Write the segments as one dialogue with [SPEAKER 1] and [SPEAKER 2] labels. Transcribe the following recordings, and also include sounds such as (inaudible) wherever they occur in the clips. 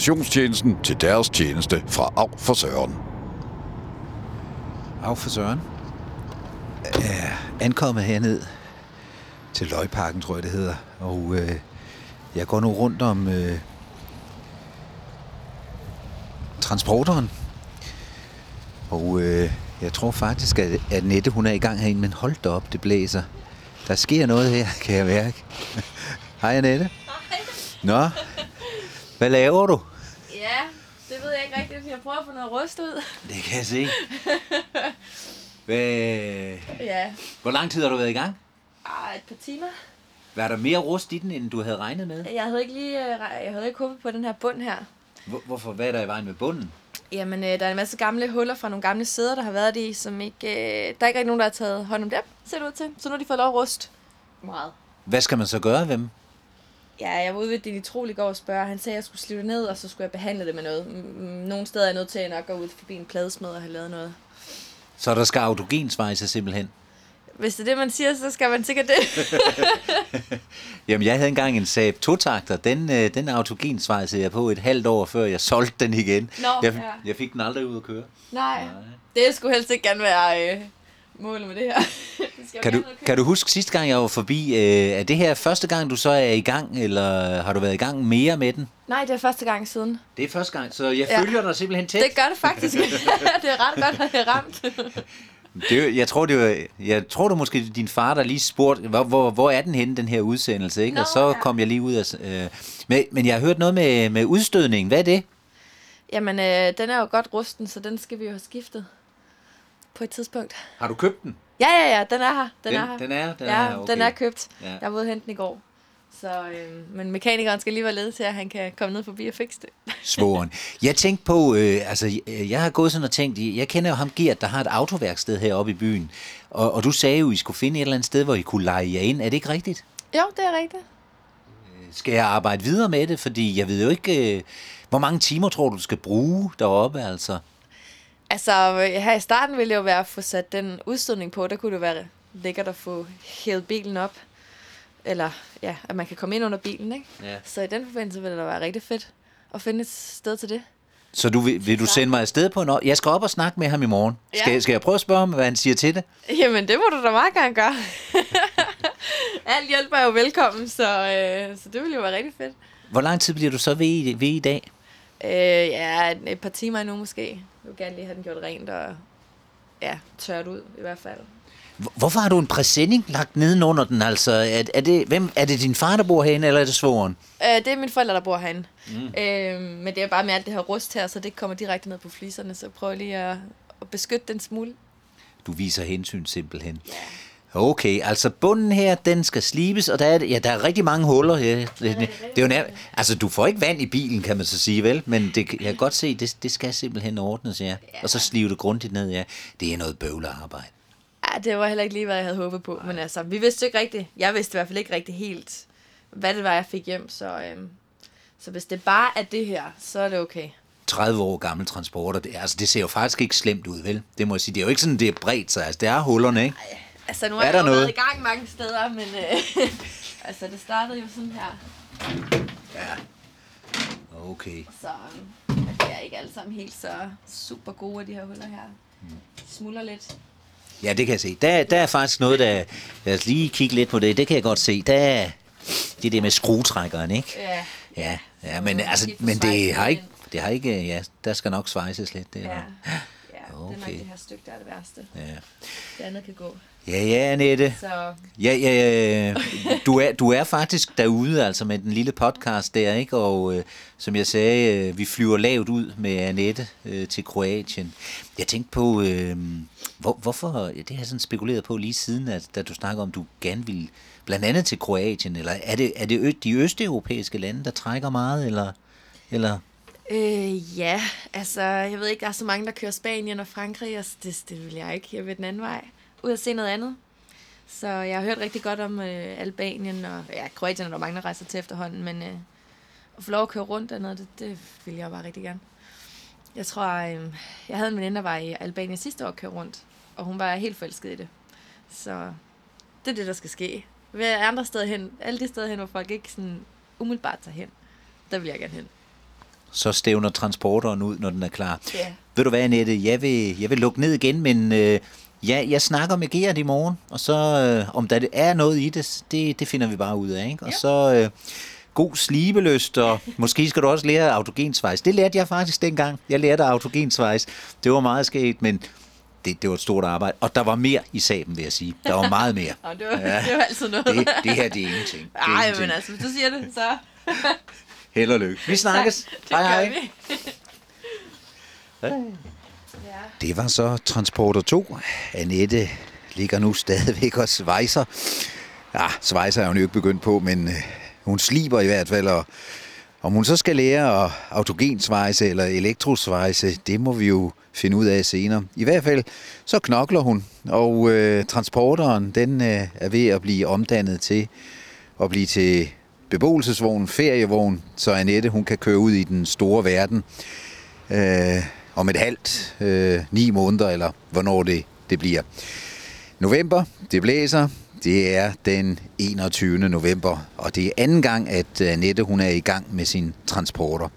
[SPEAKER 1] informationstjenesten til deres tjeneste fra Av for Søren.
[SPEAKER 2] Af for Søren. Er ankommet herned til Løgparken, tror jeg det hedder. Og øh, jeg går nu rundt om øh, transporteren. Og øh, jeg tror faktisk, at, at Nette hun er i gang herinde, men hold da op, det blæser. Der sker noget her, kan jeg mærke. (laughs) Hej Annette.
[SPEAKER 3] Hej.
[SPEAKER 2] Nå, hvad laver du?
[SPEAKER 3] Ja, det ved jeg ikke rigtigt. Jeg prøver at få noget rust ud.
[SPEAKER 2] Det kan jeg se. Hvad...
[SPEAKER 3] (laughs) Ja,
[SPEAKER 2] Hvor lang tid har du været i gang?
[SPEAKER 3] Arh, Ah, et par timer.
[SPEAKER 2] Var der mere rust i den, end du havde regnet med?
[SPEAKER 3] Jeg havde ikke lige, øh, re- jeg havde ikke håbet på den her bund her.
[SPEAKER 2] Hvor- Hvorfor? Hvad er der i vejen med bunden?
[SPEAKER 3] Jamen, øh, der er en masse gamle huller fra nogle gamle sæder, der har været i, som ikke... Øh, der er ikke rigtig nogen, der har taget hånd om dem, ser det ud til. Så nu har de fået lov at ruste. Meget.
[SPEAKER 2] Hvad skal man så gøre ved dem?
[SPEAKER 3] Ja, jeg var ude ved Dinitrol i går og spørge. Han sagde, at jeg skulle slive det ned, og så skulle jeg behandle det med noget. Mm, Nogle steder er jeg nødt til at nok gå ud forbi en pladesmed og have lavet noget.
[SPEAKER 2] Så der skal autogensvejse simpelthen.
[SPEAKER 3] Hvis det er det, man siger, så skal man sikkert det.
[SPEAKER 2] Jamen, jeg havde engang en Saab 2-takter. Den, øh, den autogensvejsede jeg på et halvt år, før jeg solgte den igen.
[SPEAKER 3] Nå,
[SPEAKER 2] jeg,
[SPEAKER 3] ja.
[SPEAKER 2] jeg fik den aldrig ud at køre.
[SPEAKER 3] Nej. Det skulle helst ikke gerne være øh, målet med det her. (laughs) Det skal
[SPEAKER 2] Kan
[SPEAKER 3] jo
[SPEAKER 2] du,
[SPEAKER 3] gerne være
[SPEAKER 2] kan du huske sidste gang, jeg var forbi? Øh, er det her første gang, du så er i gang, eller har du været i gang mere med den?
[SPEAKER 3] kønt. Nej, det er første gang siden.
[SPEAKER 2] Det er første gang, så jeg
[SPEAKER 3] Ja.
[SPEAKER 2] følger dig simpelthen tæt.
[SPEAKER 3] Det gør det
[SPEAKER 2] (laughs)
[SPEAKER 3] faktisk. (laughs) det er ret godt, at jeg er ramt.
[SPEAKER 2] Det, er jo- jeg tror, det var, jeg tror det var måske din far, der lige spurgte, hvor, hvor, hvor er den henne, den her udsendelse, ikke?
[SPEAKER 3] Nå,
[SPEAKER 2] og så
[SPEAKER 3] ja.
[SPEAKER 2] kom jeg lige ud af... s- Øh, men, men jeg har hørt noget med, med udstødning. Hvad er det?
[SPEAKER 3] Jamen, øh, den er jo godt rusten, så den skal vi jo have skiftet på et tidspunkt.
[SPEAKER 2] Har du købt den?
[SPEAKER 3] Ja, ja, ja, den er her. Den,
[SPEAKER 2] Den-
[SPEAKER 3] er her.
[SPEAKER 2] den er- den
[SPEAKER 3] ja,
[SPEAKER 2] er her, okay.
[SPEAKER 3] den er købt.
[SPEAKER 2] Ja.
[SPEAKER 3] Ja. Jeg var ude at hente den i går. Så, øh, men mekanikeren skal lige være led til, at han kan komme ned forbi og fikse det.
[SPEAKER 2] Svoren. Jeg tænkte på, øh, altså øh, jeg har gået sådan og tænkt, jeg kender jo ham Gert, der har et autoværksted heroppe i byen, og, og du sagde jo, I skulle finde et eller andet sted, hvor I kunne lege jer ind. Er det ikke rigtigt?
[SPEAKER 3] Jo, det er rigtigt.
[SPEAKER 2] Skal jeg arbejde videre med det? Fordi jeg ved jo ikke, øh, hvor mange timer tror du, du skal bruge deroppe, altså?
[SPEAKER 3] Altså, øh, her i starten ville det jo være at få sat den udstødning på. Der kunne det jo være lækkert at få hævet bilen op. Eller, ja, at man kan komme ind under bilen, ikke?
[SPEAKER 2] Ja.
[SPEAKER 3] Så i den forbindelse ville det da være rigtig fedt at finde et sted til det.
[SPEAKER 2] Så du, vil, vil du sende mig afsted på en år? Jeg skal op og snakke med ham i morgen.
[SPEAKER 3] Ja.
[SPEAKER 2] Skal, skal jeg prøve at spørge ham, hvad han siger til det?
[SPEAKER 3] (laughs) Jamen, det må du da meget gerne gøre. (laughs) Alt hjælp er jo velkommen, så, øh, så det ville jo være rigtig fedt.
[SPEAKER 2] Hvor lang tid bliver du så ved, i- ved i dag?
[SPEAKER 3] Øh, ja, et- et par timer endnu måske. Jeg vil gerne lige have den gjort rent og ja, tørt ud i hvert fald.
[SPEAKER 2] Hvor- Hvorfor har du en præsending lagt nedenunder den? Altså, er, er, det, hvem, er det din far, der bor herinde, eller er det svoren?
[SPEAKER 3] Øh, det er mine forældre, der bor herinde. Mm. Øh, men det er bare med alt det her rust her, så det kommer direkte ned på fliserne, så prøv lige at, at beskytte den smule.
[SPEAKER 2] Du viser hensyn simpelthen. Okay, altså bunden her, den skal slibes, og der er, ja, der er rigtig mange huller her. Det, det, det er jo nær, altså, du får ikke vand i bilen, kan man så sige, vel? Men det, jeg kan godt se, det, det skal simpelthen ordnes, ja. Og så slive det grundigt ned, ja. Det er noget bøvlearbejde.
[SPEAKER 3] Ja, det var heller ikke lige, hvad jeg havde håbet på, Ej. men altså, vi vidste jo ikke rigtigt. Jeg vidste i hvert fald ikke rigtig helt, hvad det var, jeg fik hjem, så, øh, så hvis det bare er det her, så er det okay.
[SPEAKER 2] 30 år gammel transporter, det, altså, det ser jo faktisk ikke slemt ud, vel? Det må jeg sige. Det er jo ikke sådan, det er bredt sig. Altså, det er hullerne, ikke?
[SPEAKER 3] Altså, nu
[SPEAKER 2] Er
[SPEAKER 3] har jeg
[SPEAKER 2] der
[SPEAKER 3] jo været
[SPEAKER 2] noget?
[SPEAKER 3] i gang mange steder, men øh, (laughs) altså, det startede jo sådan her,
[SPEAKER 2] Okay.
[SPEAKER 3] så øh, at det er ikke alle sammen helt så super gode, de her huller her.
[SPEAKER 2] Mm.
[SPEAKER 3] De smuldrer lidt.
[SPEAKER 2] Ja, det kan jeg se. Der, der er faktisk noget, der... Lad os lige kigge lidt på det. Det kan jeg godt se. Der er det der med skruetrækkeren, ikke?
[SPEAKER 3] Ja.
[SPEAKER 2] Ja, ja men,
[SPEAKER 3] Mm,
[SPEAKER 2] altså,
[SPEAKER 3] lige få
[SPEAKER 2] men det
[SPEAKER 3] svejset
[SPEAKER 2] har
[SPEAKER 3] lidt
[SPEAKER 2] ikke... Det har ikke... Ja, der skal nok svejses lidt. Det er
[SPEAKER 3] Ja.
[SPEAKER 2] der.
[SPEAKER 3] ja, det er nok
[SPEAKER 2] Okay.
[SPEAKER 3] det her stykke, der er det værste.
[SPEAKER 2] ja.
[SPEAKER 3] Det andet kan gå.
[SPEAKER 2] Ja, ja, Annette.
[SPEAKER 3] Så
[SPEAKER 2] Ja, ja, ja. Du er, du er faktisk derude, altså med den lille podcast der, ikke? Og øh, som jeg sagde, øh, vi flyver lavt ud med Annette øh, til Kroatien. Jeg tænkte på, øh, hvor, hvorfor, ja, det har jeg sådan spekuleret på lige siden, at da du snakker om, du gerne vil blandt andet til Kroatien, eller er det, er det ø- de østeuropæiske lande, der trækker meget, eller... eller
[SPEAKER 3] Øh, ja, altså, jeg ved ikke, der er så mange, der kører Spanien og Frankrig, og det, det vil jeg ikke. Jeg vil den anden vej. Ud og se noget andet. Så jeg har hørt rigtig godt om øh, Albanien, og ja, Kroatien er der mange, der rejser til efterhånden, men øh, at få lov at køre rundt dernede, det, det vil jeg bare rigtig gerne. Jeg tror, øh, jeg havde en veninde, der var i Albanien sidste år og kørte rundt, og hun var helt forelsket i det. Så det er det, der skal ske. Ved andre steder hen, alle de steder hen, hvor folk ikke sådan umiddelbart tager hen, der vil jeg gerne hen.
[SPEAKER 2] så stævner transporteren ud, når den er klar.
[SPEAKER 3] Ja.
[SPEAKER 2] Ved du hvad, Annette, jeg vil, jeg vil lukke ned igen, men øh, ja, jeg snakker med Gerard i morgen, og så øh, om der er noget i det, det, det finder vi bare ud af. Ikke? Og
[SPEAKER 3] Ja.
[SPEAKER 2] så øh, god slibeløst,
[SPEAKER 3] (laughs)
[SPEAKER 2] og måske skal du også lære autogensvejs. Det lærte jeg faktisk dengang. Jeg lærte autogensvejs. Det var meget skægt, men det, det var et stort arbejde. Og der var mere i saben, vil jeg sige. Der var meget
[SPEAKER 3] (laughs)
[SPEAKER 2] mere.
[SPEAKER 3] Og det var, ja. det var altid noget.
[SPEAKER 2] Det, det her, det er ingenting. Det er
[SPEAKER 3] Ej,
[SPEAKER 2] ingenting.
[SPEAKER 3] men altså, hvis du siger det, så...
[SPEAKER 2] Held og lykke. Vi snakkes.
[SPEAKER 3] Det
[SPEAKER 2] Hej,
[SPEAKER 3] gør
[SPEAKER 2] hej.
[SPEAKER 3] vi.
[SPEAKER 2] Hej.
[SPEAKER 3] Ja.
[SPEAKER 2] Det var så Transporter 2. Annette ligger nu stadigvæk og svejser. Ja, svejser er hun jo ikke begyndt på, men øh, hun sliber i hvert fald. Og om hun så skal lære at autogensvejse eller elektrosvejse, det må vi jo finde ud af senere. I hvert fald så knokler hun, og øh, transporteren den øh, er ved at blive omdannet til at blive til beboelsesvogn, ferievogn, så Annette hun kan køre ud i den store verden øh, om et halvt, øh, ni måneder, eller hvornår det, det bliver. November, det blæser, det er den 21. november, og det er anden gang, at Annette hun er i gang med sin transporter.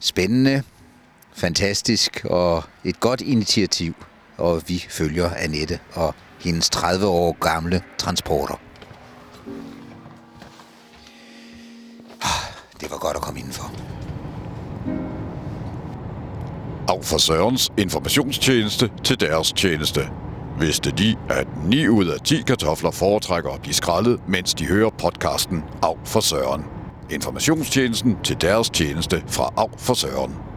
[SPEAKER 2] Spændende, fantastisk og et godt initiativ, og vi følger Annette og hendes 30 år gamle transporter. Ah, Det var godt at komme indenfor.
[SPEAKER 1] Af for Sørens informationstjeneste til deres tjeneste. Vidste de, at 9 ud af 10 kartofler foretrækker at blive skrællet, mens de hører podcasten Af for Søren. Informationstjenesten til deres tjeneste fra Av for Søren.